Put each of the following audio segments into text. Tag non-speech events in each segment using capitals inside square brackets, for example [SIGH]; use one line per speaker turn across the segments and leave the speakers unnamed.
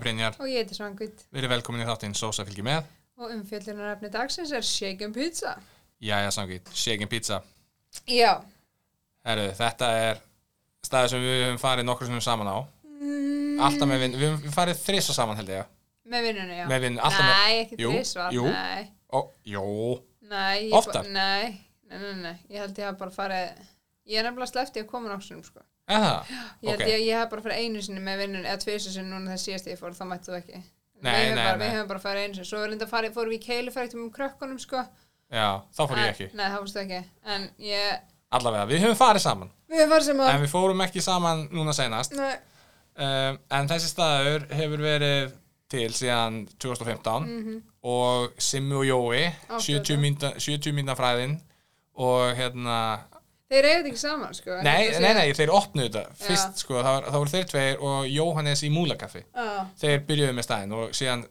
Brynjar,
Og ég heiti Svangvít
verið velkomin í þáttinn Sósa fylgir með.
og umfjöllunarefni dagsins er Shaken Pizza.
Jæja, samkvæmt, shaken pizza.
Já.
Herru, þetta er staðið sem við höfum farið nokkur sem saman á.
Mm,
Alltaf með vinn, við höfum við farið þrissa saman held ég.
með vinnunni, já.
Með vinn, alltaf með,
Nei, ekki
Jú,
þrísvar,
jú.
nei.
ó, jú,
Nei. ég
Oftar?
ba- Nei, nei, nei, nei. Ég held ég hafa bara farið, ég er nefnilega sleppt ég að koma nokkursum, sko.
eða það?
Ég held
Ok.
ég, ég hef bara farið einu sinni með vinnunni, eða tvisu sinni núna þess síðast ég fór, þá mættu þú ekki.
Nei,
Við höfum
nei,
bara,
nei.
Við höfum bara farið einu sinni. Svo reynda farið, fórum við í keilufæktum um krökkunum, sko.
Já, þá fór ég
En-
ekki.
Nei, það fórstu ekki. En ég,
Allavega, við höfum farið saman.
við höfum farið sem að...
En við fórum ekki saman núna senast.
Nei.
Um, en þessi staður hefur verið til síðan 2015
Mhm.
og Simmi og Jói,
Ákveða.
70 mínútna- 70 mínna fræðin og hérna,
Þeir eigið þetta ekki saman, sko. en
nei,
þetta sé-
nei, nei, þeir opnuðu þetta fyrst, sko, það, var, það voru þeir tveir og Jóhannes í Múlakaffi,
Já.
þeir byrjuðu með staðinn og síðan,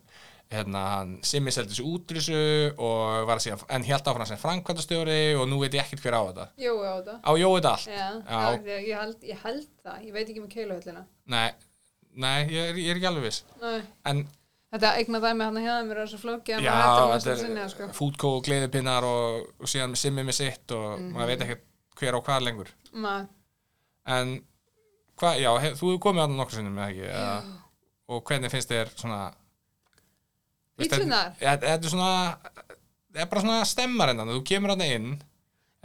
hérna, hann Simmi seldi þessu útrísu og var síðan, en held áfram sem framkvæmtastjóri og nú veit ég ekkert hver á þetta
Jói á þetta.
á Jói þetta allt,
Já, það er því að ég held, ég held það, ég veit ekki um með keiluhöllina.
nei, nei, ég er, ég er ekki alveg viss,
Nei.
en
Þetta eigna dæmi hann að hérna mér er svo flókið að
Já,
maður hættur að
þetta
mesta
er
sinni, sko.
fútkó og gleðipinnar og, og síðan simmi með sitt og
Mhm.
maður veit ekki hver á hvað lengur
sko. Ma,
en hvað, já, hef, þú hefur komið að nokkur sinnum eða ekki eða, og hvernig finnst þér svona veist,
Pítsunar?
þetta- þetta- Þetta er svona þetta er bara svona stemmar hennan, þú kemur hann inn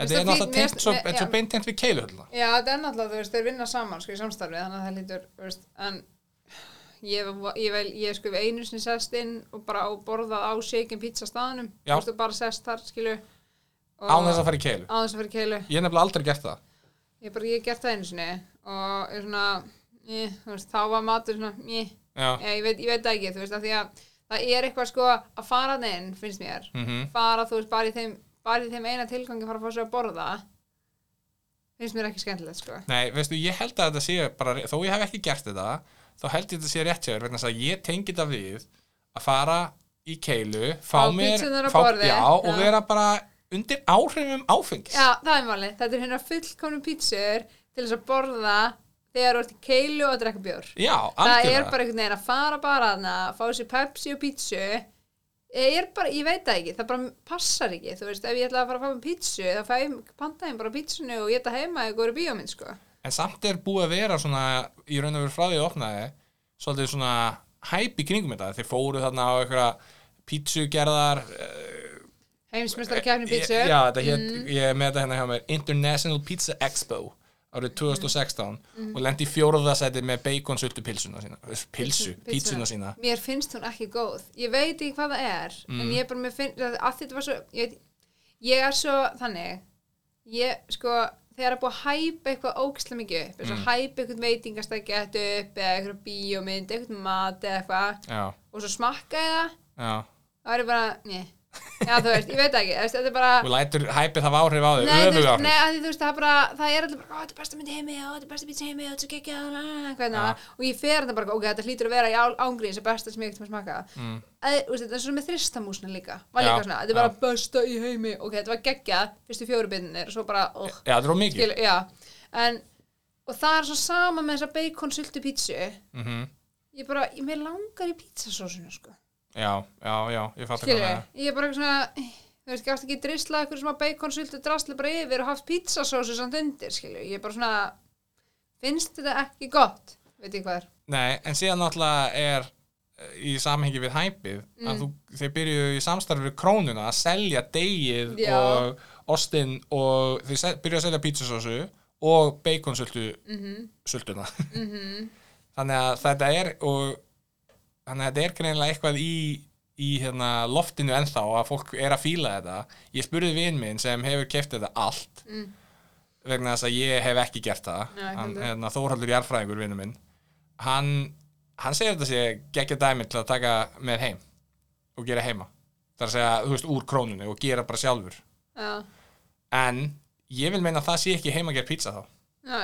Veist
þetta er
það fín-
náttúrulega
mér-
tengt svo,
mér-
þetta er svo
já.
beintengt við keiluhöllina
já, þetta er náttúrulega, þú veist, þeir vinna saman, sko, í samstarfið, þannig að það lítur, þú veist, en ég, var- ég vel, ég sko við einu sinni sest inn og bara og borðað á shaken pizza staðanum,
Já.
þú veist, og bara sest þar, skilu, og
án þess að fara í keilu
á þess að fyrir keilu.
ég hef nefnilega aldrei gert það
Ég bara, ég hef gert það einu sinni og ég svona, ég, þú veist, þá var matur svona, eh, ég,
já,
Já, ég veit, ég veit það ekki, þú veist, af því að það er eitthvað sko að fara þarna inn, finnst mér
mhm,
fara, þú veist, bara í þeim, bara í þeim eina tilgangi að fara að fá sér að borða finnst mér ekki skemmtilegt, sko
Nei, veistu, ég held að þetta sé bara, þó ég hef ekki gert þetta, þá held ég þetta sé rétt hjá þér, vegna þess að ég tengi þetta við að fara í keilu, fá
Fá
mér,
pítsurnar á
fá,
borðið,
já, og
já.
vera bara undir áhrifum áfengis.
Já, það er málið, þetta er hérna fullkomnum pítsur til þess að borða þegar þú ert í keilu og að drekka bjór
Já,
það er
algjörlega.
bara einhvern veginn að fara bara þarna fá sér pepsi og pítsu ég er bara, ég veit það ekki, það bara passar ekki, þú veist, ef ég ætla að fara að fá mér pítsu þá fæ ég, panta ég bara pítsunu og ég ætla heima eða góri bíómynd, sko
En samt er búið að vera svona, í raun og veru frá því að opnaði, svolítið svona hæp í kringum þetta. Þeir fóru þarna á einhverja pítsugerðar,
heimsmestara kefni
Ég-
pítsu
Já, þetta
Mm,
hét, ég er með þetta hérna hjá mér International Pizza Expo
Mm-hmm.
árið 2016 og lendi í fjóruðasæti með bacon sultu pilsuna sína eh, pilsu, pítsuna sína Mm.
mér finnst hún ekki góð ég veit ekki hvað það er en ég bara, mér finnst, að að þetta var svo ég, veit, ég er svo, þannig ég, sko, þegar að búa að hæpa eitthvað ógislega mikið upp
Mm.
eins og hæpa eitthvað veitingastækja þetta upp eða eitthvað bíómynd, eitthvað mat eða eitthvað
Já,
og svo smakka ég það
já
það er ég bara, njö já, þú veist, ég veit það ekki, þú veist, þetta er bara
og lætur hæpið hafa áhrif á þig,
Nei, þú
öfug
veist,
áhrif
nei, að því, þú veist, það, er bara, það er allir bara, ó, þetta er besta myndi heimi, ó, þetta er besta myndi heimi, ó, þetta er gekkja,
Ja.
og ég fer þetta bara, ok, þetta hlýtur að vera í ángriðin sem besta sem ég ekkert með smaka. Mm. Að, þú veist, þetta er svona með þristamúsna líka, var
Já,
líka svona, þetta er bara besta í heimi, ok, þetta var gekkja, fyrstu fjóru bindinir, og svo bara, óh,
Já, það er of mikið
skil, já, en, og það er svo sama með þessa bacon sultu pítsu,
mm
ég bara, ég mér langar í pítsasósinu, sko,
Já, já, já, ég fatt
skilur
ekki
ég, ég er bara eitthvað svona, þú veist, gafst ekki drisla eitthvað sem að bacon sultu drasla bara yfir og haft pizzasósu samt undir, skilur, ég er bara svona, finnst þetta ekki gott, veit ég hvað er,
Nei, en síðan náttúrulega er eh, í samhengi við hæpið að þú, þeir byrjuðu í samstarfi við krónuna að selja deigið
Já.
og ostinn og þeir se- byrjuðu að selja pítsusósu og beikonsultu sultuna þannig að þetta er og þannig að þetta er greinilega eitthvað í í hérna loftinu ennþá að fólk er að fíla þetta ég spurði vin minn sem hefur keft þetta allt
Mm.
vegna þess að ég hef ekki gert það
Nei, ekki
hann,
heldur.
hérna, Þórhaldur Jarfræðingur vinur minn hann, hann segir þetta sé geggja dæmi til að taka með heim og gera heima það er að segja, þú veist, úr krónunni og gera bara sjálfur
já,
en ég vil meina að það sé ekki heima að gera pizza þá
já,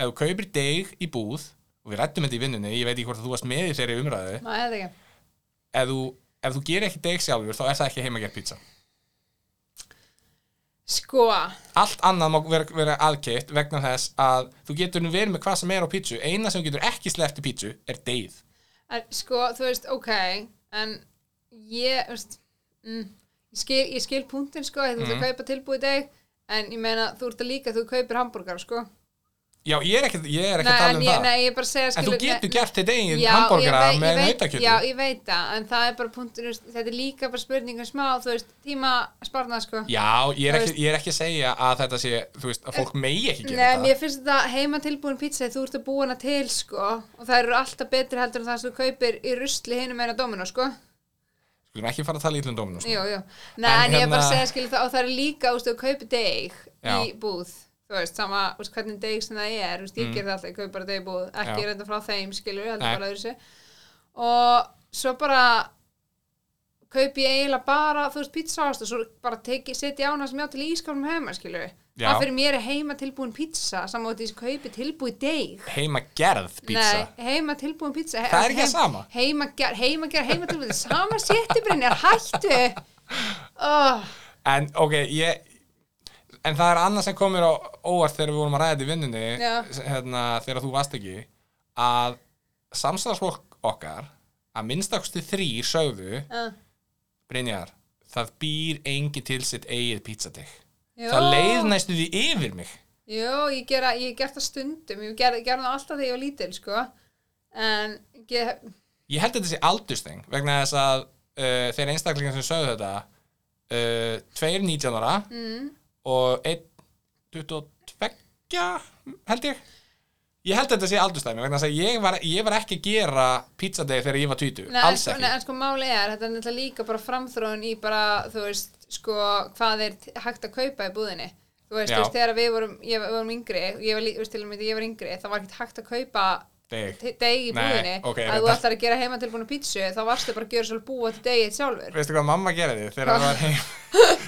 ef þú kaupir deg í búð og við rættum þetta í vinnunni, ég veit ekki hvort að þú varst með í þeirri umræðu
maður hefði ekki,
ef þú, ef þú gerir ekki deg sjálfur þá er það ekki heima að gera pizza
sko,
allt annað má vera, vera aðkeitt vegna þess að þú getur nú verið með hvað sem er á pítsu eina sem þú getur ekki sleppt í pítsu er deið
En, sko, þú veist, ok, en ég, þú veist, mm, ég skil, ég skil punktin, sko, að þú
Mm.
ert að kaupa tilbúið deg, en ég meina, þú ert að líka, þú kaupir hambúrgar, sko.
Já, ég er ekki, ég er ekki
Nei,
að tala
en
um
ég,
það.
nei, ég er bara að segja,
en þú
skilur-
getur
nei,
gert þetta eigin
Já,
hambúrgara
ég vei-
með
ég veit-
nautakjötu.
Já, ég veit það, en það er bara punktur þetta er líka bara spurningum smá, þú veist tíma sparnað sko
Já, ég er,
Þú
ekki, ég er ekki að segja að þetta sé, þú veist, að fólk megi ekki gera
Nei, en
þetta.
ég finnst þetta heima tilbúin pizza þú ert að búa hana til sko og það eru alltaf betri heldur en það sem þú kaupir í rusli hinum meina dóminu sko
Skulum ekki fara að tala um ítlum dóminu.
Jú, jú, nei,
En
en ég er
hérna-
bara að segja skilur það og það eru líka, þú veist, þú kaupir deg í
Já.
búð, þú veist, sama þú veist, hvernig deg sem það er, þú veist, ég mm. gerði alltaf ég kaupi bara deg í búð, ekki
Já.
reynda frá þeim skilur, heldur
Nei.
bara öðru sér og svo bara kaupi ég eiginlega bara þú veist, pizzaost og svo bara teki, setja ég á hana sem ég á til ískapnum heima, skilur
Já.
það fyrir mér er heima tilbúin pizza saman á því sem kaupi tilbúið deg
Heima gerð pizza.
Nei, heima tilbúin pizza
Það er ekki það sama.
Heima ger, heima ger, heima tilbúin Sama sétti Brynjar, hættu oh,
En, ok, ég, en það er annað sem komir á óvart þegar við vorum að ræða þetta í vinnunni,
Já.
s- hérna, þegar þú varst ekki, að samstagsfólk okkar, að minnstakosti þrýr sögðu,
uh,
Brynjar, það býr engin til sitt eigið pizzatig.
jó,
Það leið næstu því yfir mig.
Jó, ég gera, ég gert það stundum Ég gerði ger það alltaf þegar ég var lítil, sko En ég,
ég held að þetta sé aldusteng vegna þess að uh, þeir einstaklingar sem sögðu þetta uh, tveir 19 ára
mm,
og einn 22 held ég ég held að þetta sé aldusteng vegna þess að ég var, ég var ekki að gera pizzadegi þegar ég var 20
nei,
alls
sko,
ekki
nei, En sko máli er, þetta er náttúrulega líka bara framþróun Í bara, þú veist, sko Hvað er t- hægt að kaupa í búðinni Þú veist,
Já.
þú veist, þegar við vorum, ég, við vorum yngri Ég var, lí- þú veist, til að mynda, ég var yngri Það var ekkert hægt að kaupa
Deg.
te- deg í
Nei,
búðinni
ok,
að þú
reyndar.
ætlar að gera heima tilbúinu pítsu þá varstu bara að gjöra svolítið búa til degið sjálfur
veistu hvað mamma gerði þegar
[LAUGHS]
það var heim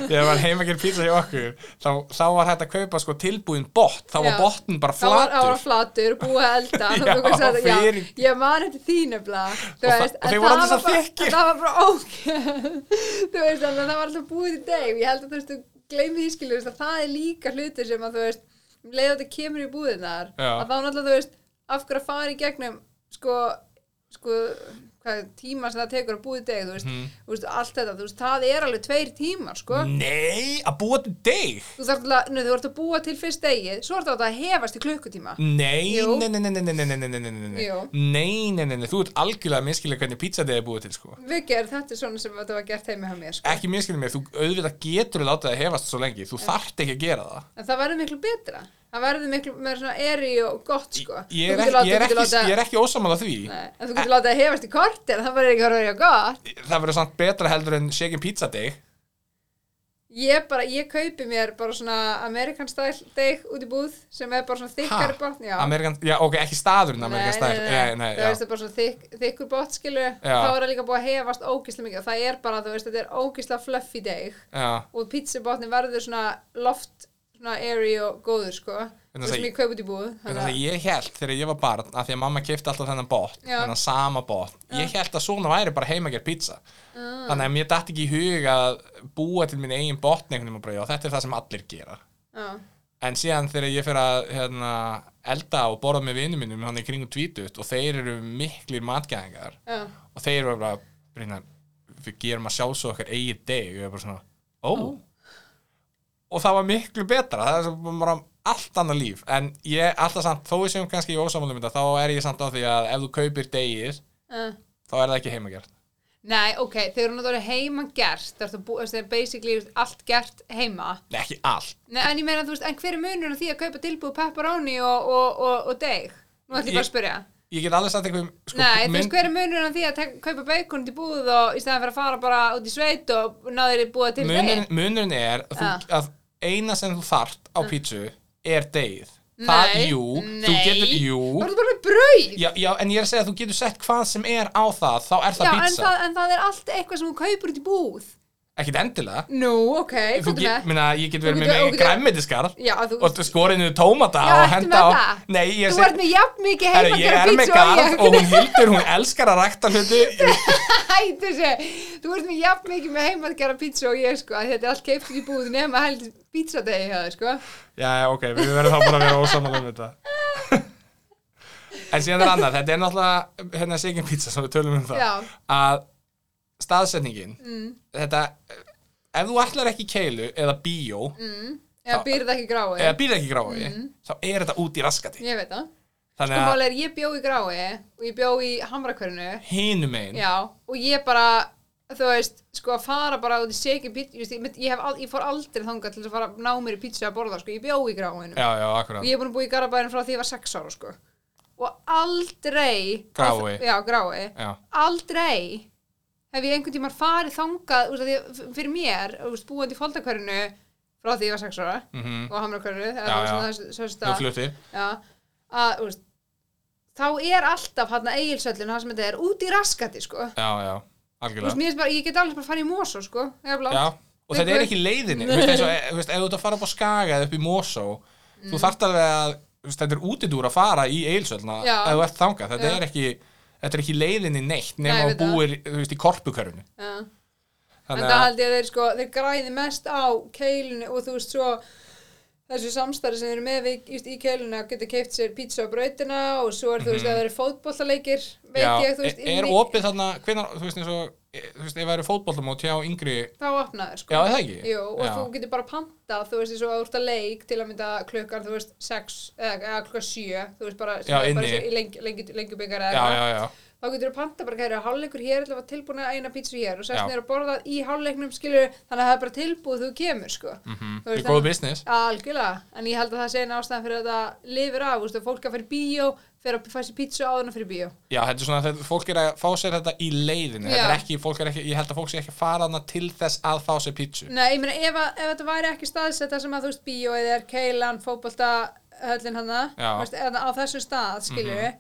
þegar var heim að gera pizza hjá okkur þá, þá var hægt að kaupa sko tilbúin bótt þá var
Já.
bóttin bara
þá var ára
flatur
flatur, búa
[LAUGHS]
að elda
Já,
þú veist, það-
fyrir-
já, ég man eftir þínu bla
Og það- og þeir voru allir svo þykkir.
það var bara ógeð [LAUGHS] þú veist, þannig að það var alltaf búið í deg ég held að þú veist, þú gleymi því skilur þú veist, að það er líka hluti sem að þú veist leiða þetta kemur í búðinar
Já.
að þá náttúrulega þú veist, af hverju að fara í gegnum sko, sko hvað, tíma sem það tekur að búið í deg þú veist,
Mhm.
þú veist, allt þetta, þú veist, það er alveg tveir tímar, sko
nei, að búa til deg
þú þarf til að, nei, þú ert að búa til fyrst degið svo ert það að hefast í klukkutíma
Nei,
Jú.
nei, nei, nei, nei, nei, nei, nei, nei, nei, nei, nei, nei,
Jú.
nei, nei, nei, nei, þú ert algjörlega minnskilið hvernig pizzadegi er búið til, sko.
Vigger, þetta er svona sem þetta var gert heimi hjá mér sko.
Ekki minnskilið mér, þú auðvitað getur látið að hefast svo lengi, þú þarft ekki að gera það.
en það verður miklu betra það verður miklu meira svona eri og gott sko.
Ég er
Þú getur
ekki,
látið-
ég er
þú getur
ekki,
látið-
ég er ekki ósamála því.
Nei, en þú getur látið að hefast í kortir það verður ekki að verður gott
Það verður samt betra heldur en shaken pizzadegi.
ég bara, ég kaupi mér bara svona American style deg út í búð sem er bara svona
Ha?
þykkar botn já.
Amerikan, já, ok, ekki staðurinn Amerikan stær. Nei, nei,
þú veist
já.
það er bara svona þykk, þykkur botn skilu
Já.
þá er það líka búið að hefast ógislega mikið og það er bara, þú veist, þetta er ógislega fluffy deg
Já,
og pizzabotni verður svona loft, svona airy og góður sko,
Vegna
þú
þess að
sem ég kaup út í búð
Þannig
þannig
að ég held þegar ég var barn að því að mamma keipti alltaf þennan bótt,
Já.
þennan sama bótt, ég held að svona væri bara heima að gera pizza. Þannig að mér datt ekki í hug að búa til minn eigin bótt einhvern veginn og þetta er það sem allir gera.
Já,
En síðan þegar ég fer að hérna, elda og borða með vinum mínum hann í kringum tvítut og þeir eru miklir matgæðingar
já,
og þeir eru bara, Brynjar, við gerum að sjálfsög okkar eigið deg og ég er bara svona, ó og það var miklu betra, það er svo bara allt annað líf, en ég alltaf samt, þó ég séum kannski í ósamálum þetta, þá er ég samt á því að ef þú kaupir degið
já.
þá er það ekki heimagert
Nei, ok, þegar hún er heima gert það er það bú- þú veist, það er basically allt gert heima
Nei, ekki allt
Nei, en ég meina, þú veist, en hver er munurinn á því að kaupa tilbúið pepperoni og, og, og, og deig? Nú ætlum ég bara að
Ég-
spyrja
Ég get alveg sagt eitthvað um, sko,
Nei, þú
mynd-
veist, hver er munurinn á því að tek, kaupa bacon út í búð og í staðan fyrir að fara bara út í sveit og náður í búða til
munurinn,
deig?
munurinn er að, þú, að eina sem þú þart á pítsu er degið það,
Mm. Nei,
jú, þú
nei.
getur, jú
Þú ertu bara með brauð
já, já, en ég er að segja að þú getur sett hvað sem er á það, þá er það
Já, en
pítsa
það, en það er allt eitthvað sem hún kaupur út í búð.
ekkit endilega
Nú, ok,
þú
hvað
get,
er með?
minna, ég get
Þú
verið
getur-
með
þú
með
getur-
græmmetiskarð
Já, þú,
og skorinu tómata
Já,
og
ertu
henda á
með það?
nei, ég er
þú
að
ert með jafn mikið
Herra,
heima
ég er með garð og
[LAUGHS]
hún hildur, hún elskar að rækta hluti [LAUGHS] Ég-
Hættu þessi, þú ert með jafn mikið með heima að gera pizza og ég sko, að þetta er allt keipt út í búð nema held pizzadegi hjá það sko.
Já, já, ok, við verðum þá bara að vera ósamal um þetta [LAUGHS] en síðan er annað, þetta er náttúrulega hérna Sigin Pizza sem við tölum um það
já, Mm.
að staðsetningin þetta, ef þú ætlar ekki keilu eða bíó,
Mm. eða býrð ekki gráu
eða býr ekki gráði
Mm.
þá er þetta út í raskati
ég veit það sko
þannig að
mál er ég bjó í grái og ég bjó í hamrakverinu
hinum einn
já, og ég bara þú veist, sko að fara bara út í seki pizza, ég, mynd- ég, hef al, ég fór aldrei þangað til að fara að ná mér í pizza að borða sko, ég bjó í gráinu
já, já,
og
akkurat
ég er búin að búa í Garabæðin frá því ég var 6 ára sko. og aldrei
Grái.
já, grái
já,
aldrei hef ég einhvern tímann farið þangað úst, því, að f- fyrir mér, úst, búandi í foldakverinu frá því ég var 6 ára
mm -hmm.
og hamrakverinu
Já, já. þú
já,
fluttir
já, að, úst, þá er alltaf hann að eigilsöllin það sem þetta er út í raskati sko.
já, já,
úst,
algjörlega
mér finnst bara, ég get alveg bara að fara í Mosó sko, jafnlangt.
já, og þetta er
Liggur.
ekki leiðinni þú veist, eins og, eh, þú veist, ef þú ert að fara upp á Skaga eða upp í Mosó
Mm.
þú þarft alveg að þú veist, þetta er útidúr að fara í Eilsöldna
Já.
ef þú ert þangað, þetta
Já.
er ekki þetta er ekki leiðinni neitt
Nei,
nema
ég
að
veit það.
búir, þú veist, í korpukörfinu
já. En
þannig
það
að,
held ég að þeir sko, þeir græði mest á keilinu og þú veist svo þessu samstarfi sem þeir eru með við, just, í keilinu að geta keift sér pizza á brautina og svo er þú veist að það eru fótbollaleikir veit
Mhm. já,
ég, þú veist,
er, er
inni-
opið þarna hvenar, þú veist, eins og e, þú veist, ef það eru fótbollamót hjá yngri
þá opna þeir sko
já, er það ekki?
Jú, og
já,
þú getur bara pantað, þú veist, eins og að þú ert að leik til að mynda klukkan, þú veist, 6 eða, eða klukkan 7, þú veist, bara,
Já,
bara
inni.
svo í lengi, lengi, lengi byggar
já,
eða eitthvað.
já, já,
þá getur þú panta bara kæri að hálfleikur hér ætla að tilbúin að eina pítsu hér og
Já.
sérst niður að borða í hálfleiknum skilur þannig að það er bara tilbúið þú kemur sko mm -hmm.
þetta er góð business
algjörlega, en ég held að það sé eina ástæðan fyrir að þetta lifir af, þú veist, að fólk að fyrir bíó fyrir að fá sér pítsu áður en fyrir bíó
já, þetta er svona, þetta, fólk er að fá sér þetta í leiðinni þetta er
Já.
ekki, fólk er ekki, ég held að fólk sé ekki að fara hana til þess að fá sér pítsu
Nei, ég meina, ef, að- ef þetta væri ekki staðsett þar sem að þú veist bíó eða er keilan, fótbolta höllin hann
Já. Mhm.
það, á þessum stað skilur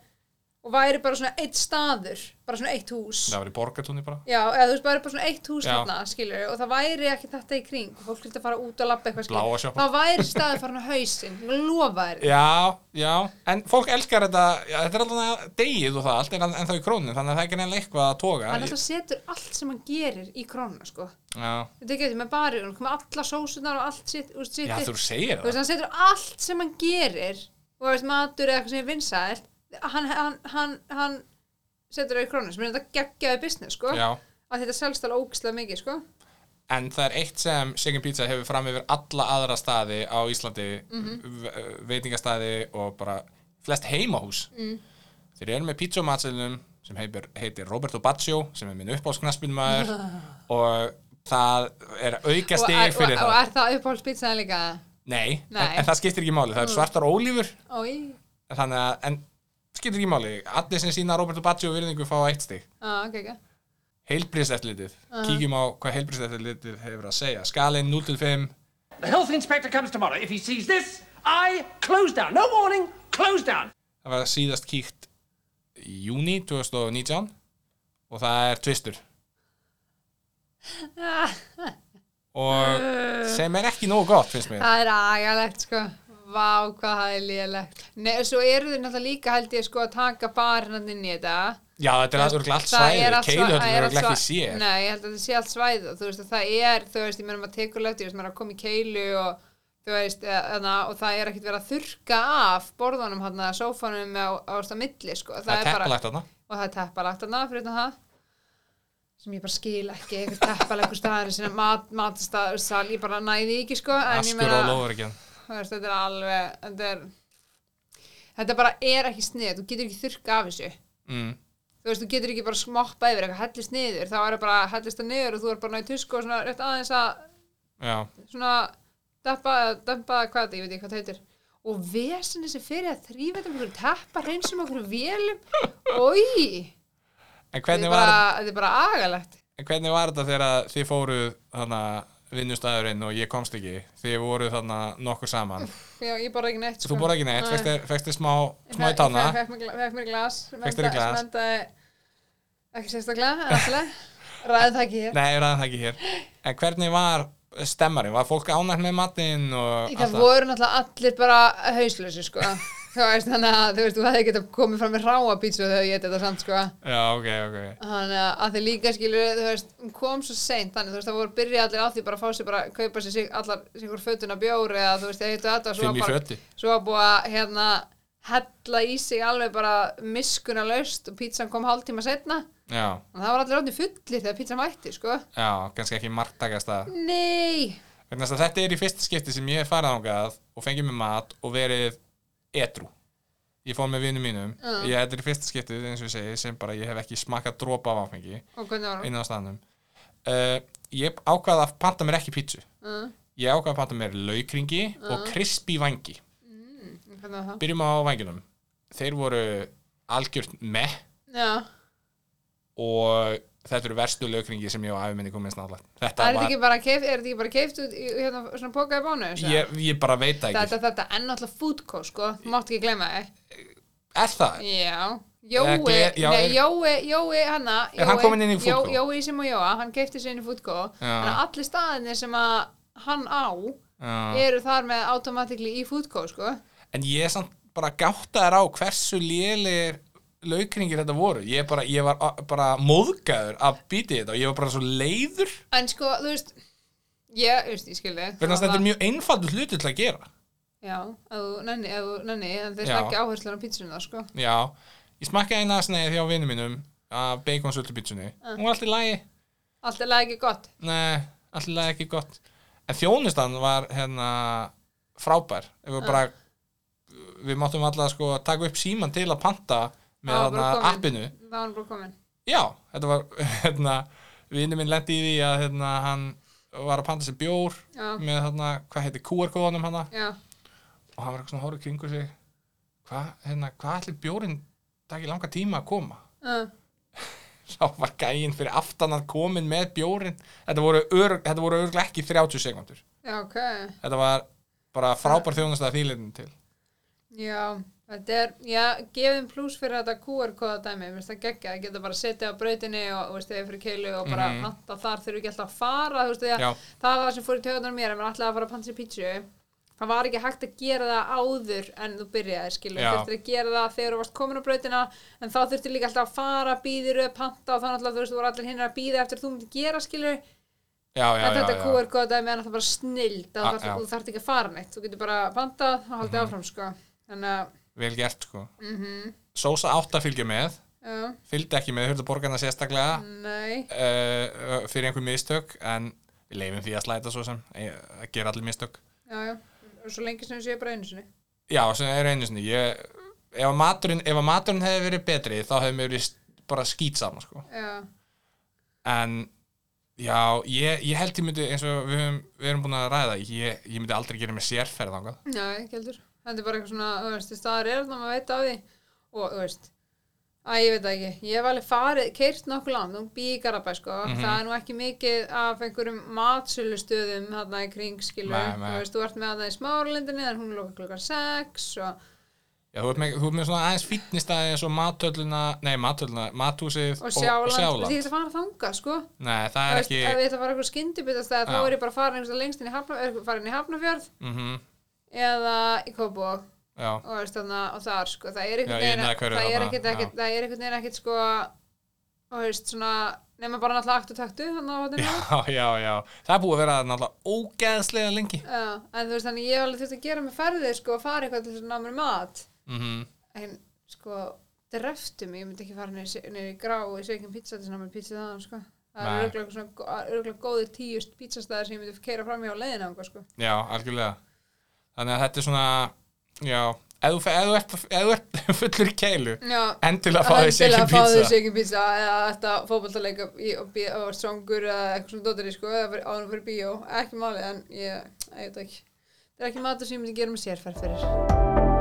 og væri bara svona eitt staður, bara svona eitt hús
það var í borgartúni bara
Já, eða þú veist, bara bara svona eitt hús
Já.
hérna, skilur, og það væri ekki þetta í kring, og fólk vildi fara út og labba eitthvað, skilur,
Bláa sjoppan.
það væri staðið farin á hausinn, ég lofa þér.
Já, já, en fólk elskar þetta, já, þetta er alltaf degið og það, allt er ennþá í krónin, þannig að það er ekki neina eitthvað að toga.
Hann alltaf setur allt sem hann gerir í krónuna, sko.
Já,
Þetta er ekki með barið, hann komið alla sósunar og allt sitt, úr sitt,
já þú segir það.
þú veist, hann setur allt sem hann gerir, og þú veist, matur eða eitthvað sem er vinsælt, hann, hann, hann, hann setur það í krónuna, sem er þetta geggjaði business, sko.
Já,
Að þetta selst alveg ógislega mikið, sko.
en það er eitt sem Shaken Pizza hefur fram yfir alla aðra staði á Íslandi,
Mhm.
ve- veitingastaði og bara flest heimahús. Mm. Þeir eru með pítsumatselunum sem heitir, heitir Roberto Baccio, sem er minn uppásknaspinmaður
[LAUGHS]
og það er auka
Og,
stig
er-
fyrir
og, og
það.
er það uppáhaldspítsaðan líka?
Nei, En,
Nei. Mm.
en það skiptir ekki máli, það eru svartar ólífur.
Ói,
þannig að, en skiptir ekki máli allir sem sína Roberto Baggio virðingu fá eitt stig
á, ok, ok.
heilbríðseftlitið,
Ah.
kíkjum á hvað heilbríðseftlitið hefur að segja, skalinn 0-5
The health inspector comes tomorrow. If he sees this, I close down. No warning, close down.
það var síðast kíkt í júni 2019 og það er tvistur og
Eh.
sem er ekki nógu gott finnst mér,
Það er agalegt sko Vá, hvað það er lélegt Nei, og svo eru þau náttúrulega líka held ég sko að taka barnan inn í þetta
já þetta er alltaf allt
Það er
svæðið,
allt svæ-
keiluhöllin
það
er
er allt
örugglega ekki
svæ-
sér
Nei, ég held að það sé allt svæð og þú veist að það er, þú veist, ég meina maður tekur lögt, ég veist, maður er að koma í keilu og þú veist, eðna, og það er ekkert verið að þurrka af borðunum hann að sófanum á, á, á milli sko það,
það er
bara,
teppalagt þarna
og það er teppalagt hann fyrir utan það sem ég bara skil ekki, eitthvað teppalegur staðar sem mat, matstað, sal, ég bara næði ekki sko, en ég
askur
meina
og lofur ekki
þú veist, þetta er alveg þetta er þetta bara er ekki snið, þú getur ekki þurrka af þessu
mm.
þú veist, þú getur ekki bara smoppa yfir eitthvað hellist niður, þá er það bara hellist það niður og þú er bara náðu tusku og svona rétt aðeins að
já,
svona dappa, dampa, hvað þetta, ég veit ekki hvað það heitir og vesinni sem fyrir að þrýfa þetta með okkur teppa, hreinsum okkur vélum oi,
en
þetta
hvernig
er
var
bara, þetta er bara agalegt
En hvernig var þetta þegar að þið fóruð þarna vinnustæðurinn og ég komst ekki þið voruð þarna nokkur saman
já, ég borða ekki neitt sko.
þú borða ekki neitt,
Nei.
fekst þér- fekst þið smá, smá í tána
fekk mér gla- fékk mér glas
Fékkstu þér glas?
vendaði ekki sérstaklega, en alltaf ræði það ekki hér
nei, ræðan það ekki hér en hvernig var stemmarinn, var fólk ánægt með matinn og allt
Það
það
voru náttúrulega allir bara hauslösi
[LAUGHS]
sko Þú veist þannig að þú veist þú hefði getað komið fram með ráa pítsu þegar ég þetta samt sko
já, ok, ok,
Þannig að- að þið líka skilur þú veist hún kom svo seint þannig þú veist það voru byrja allir á því bara að fá sér bara að kaupa sér sig, allar sigur fötuna bjór eða þú veist ég heitu þetta og svo var
fimm í
bara
föti
svo var búið að hérna hella í sig alveg bara miskuna laust og pítsan kom hálftíma setna
já,
og það var allir átni fullir þegar pítsan mætti sko.
já, kannski ekki margtakast að
Nei,
vegna þess að þetta er í fyrsta skipti sem ég hef farið ángað og fengið mér mat og verið edru ég fór með vinum mínum ég, þetta er í fyrsta skipti eins og ég segi sem bara ég hef ekki smakað dropa af áfengi
og hvernig var hann?
inn á staðnum uh, ég ákvaði að panta mér ekki pítsu
Uh,
ég ákvaði að panta mér laukringi
Mm.
og krispi vangi
hvernig var það?
byrjum á vanginum þeir voru algjört með
Já,
og þetta eru verstu laukringi sem ég og afi minni komið snáðlega þetta
er þetta
var,
ekki bara keift, er þetta ekki bara keift út í í hérna svona pókaði bónus? eða?
ég, ég bara veit það ekki
Þetta, þetta, en náttúrulega foodco, sko, þú mátt ekki gleyma þið.
er það?
Já,
Eða
Jói,
gle- já,
nei,
er-
Jói, Jói, hanna
Er hann
Jói-
kominn inn í
Jó-
Foodco?
Jói sem og Jóa, hann keipti sér inn í fútko
Já.
Þannig að allir staðinni sem að hann á
Já.
eru þar með automatically í fútko, sko
en ég er samt bara gáttaður á hversu lélir laukringir þetta voru ég, bara, ég var a- bara móðgæður að býti þetta og ég var bara svo leiður
En sko, þú veist, ég, þú veist, ég skildi
vegna þess að þetta er mjög einfaldur hluti til að gera
Já, ef þú nenni, ef þú nenni, en þeir
Já.
snakki áherslan á pítsunum það, sko
já, ég smakkaði eina snæði hjá vinnum mínum að bacon sultupítsunni
Ah.
hún var allt í lagi,
Allt er lag ekki gott
nei, allt í lagi ekki gott en þjónustan var hérna frábær við,
Ah.
bara, við máttum alltaf sko taka upp síman til að panta með
Það var Ah, bara
þarna
komin.
appinu
Það var hann bara komin
Já, þetta var [LAUGHS] hérna, vinnum minn lendi í því að hérna, hann var að panta sér bjór
Já.
með hérna, hvað heitir QR-kóðanum hana
Já,
og hann var eitthvað svona að horfa í kringu sig hvað hérna, hva ætli bjórinn taki langa tíma að koma
uh,
þá var gæinn fyrir aftan að komin með bjórinn þetta voru, örg, þetta voru örglega ekki 30 sekundur
já, ok
þetta var bara frábær þjónustæða þýleitin til
Já, þetta er, já, gefum pluss fyrir þetta QR-kóða dæmi, mér finnst það geggja, það geta bara að setja á brautinni og, og veist, þegar fyrir keilu og bara
Mhm.
panta þar þurfum ekki alltaf að fara, þú veist, því að
Já.
það var það sem fór í töðunum mér, ef maður ætlaði að fara að panta sér pítsu, það var ekki hægt að gera það áður en þú byrjaði, skilur,
Já.
þurftir að gera það þegar þú varst komin á brautina, en þá þurftir líka alltaf að fara, býðir upp, panta og þannig alltaf, þú veist, þú voru allir hinir að býða eftir að þú myndir gera, skilur,
Já, já,
en
já,
þetta
já.
QR-kóða dæmi er náttúrulega bara snild,
Ah, já. Mhm.
þú þarft ekki að fara neitt, þú getur bara pantað og haldið áfram, sko. Þannig að
vel gert sko
Mhm.
Sósa 8 fylgja með,
Já,
fylgdi ekki með hurðu borgarna sérstaklega
nei,
uh, fyrir einhver mistök en við leifum því að slæta svo sem eh, að gera allir mistök
já, já, svo lengi sem sé bara einu sinni.
já, sem er einu sinni ég, ef, að maturinn, ef að maturinn hefði verið betri þá hefði mér verið st- bara skýt saman sko.
Já,
en já, ég, ég held ég myndi eins og við, höfum, við erum búin að ræða ég, ég myndi aldrei gera mér sérferð þangað
já, ekki heldur. Þetta er bara eitthvað svona, þú veist, staðar er þannig að maður veit af því og, þú veist, að ég veit það ekki, ég hef alveg farið, keirt nokkuð land, þú býð í Garabæ, sko,
Mhm.
það er nú ekki mikið af einhverjum matsölustöðum þarna í kring, skilur,
Nei, nei.
þú veist, þú ert með það í smáralindinni, en hún lóka klukkan 6 og,
já, þú, ert með, þú ert með svona aðeins fítnistæði eins og matölluna, nei matölluna matúsið
og sjáland,
og
því
sjáland.
þetta fara þangað, sko.
nei, það
Þú
er
veist,
ekki
ef ég ætla að fara eitthvað skyndibitastæð, þá
Já.
er ég bara farin einhverstað lengst inn í, Hafna, er, farin í Hafnafjörð
mm
eða í Kópavog
já, [LAUGHS]
og, veist, þarna, og þar sko, það er
Já, í neðhverju
einhvern veginn það er
þarna,
ekkert
já.
ekkert það er einhvern veginn ekkert sko og veist svona nema bara náttúrulega akt og taktu þannig á hotninu
já, já, já það er búið að vera náttúrulega ógeðslega lengi
uh, en þú veist þannig ég hef alveg þurft að gera mig ferðið sko og fara eitthvað til þess að ná mér mat
mhm
en sko dreftu mig, ég myndi ekki fara niður í grá og í sveikin pizza til þess að ná mér pizza þaðan sko
Nei.
það er örgulega svona gó- örugglega góðir tíu pizzastæðar sem ég myndi keira fram hjá leiðina þangað, sko.
Já, algjörlega Þannig að þetta er svona Já, ef þú, fe- ef þú, ert, ef þú ert [LAUGHS] fullur í keilu
Já,
enn til að fá þér
Endilega
shaken
fá þér
pizza
shaken pizza eða þetta fótballtaleika og, bí- og songur eða eitthvað svona dóttir í sko eða fyrir- áður en fyrir bíó, ekki málið en ég, ég veit það ekki það er ekki matur sem ég myndi gera með sérferð fyrir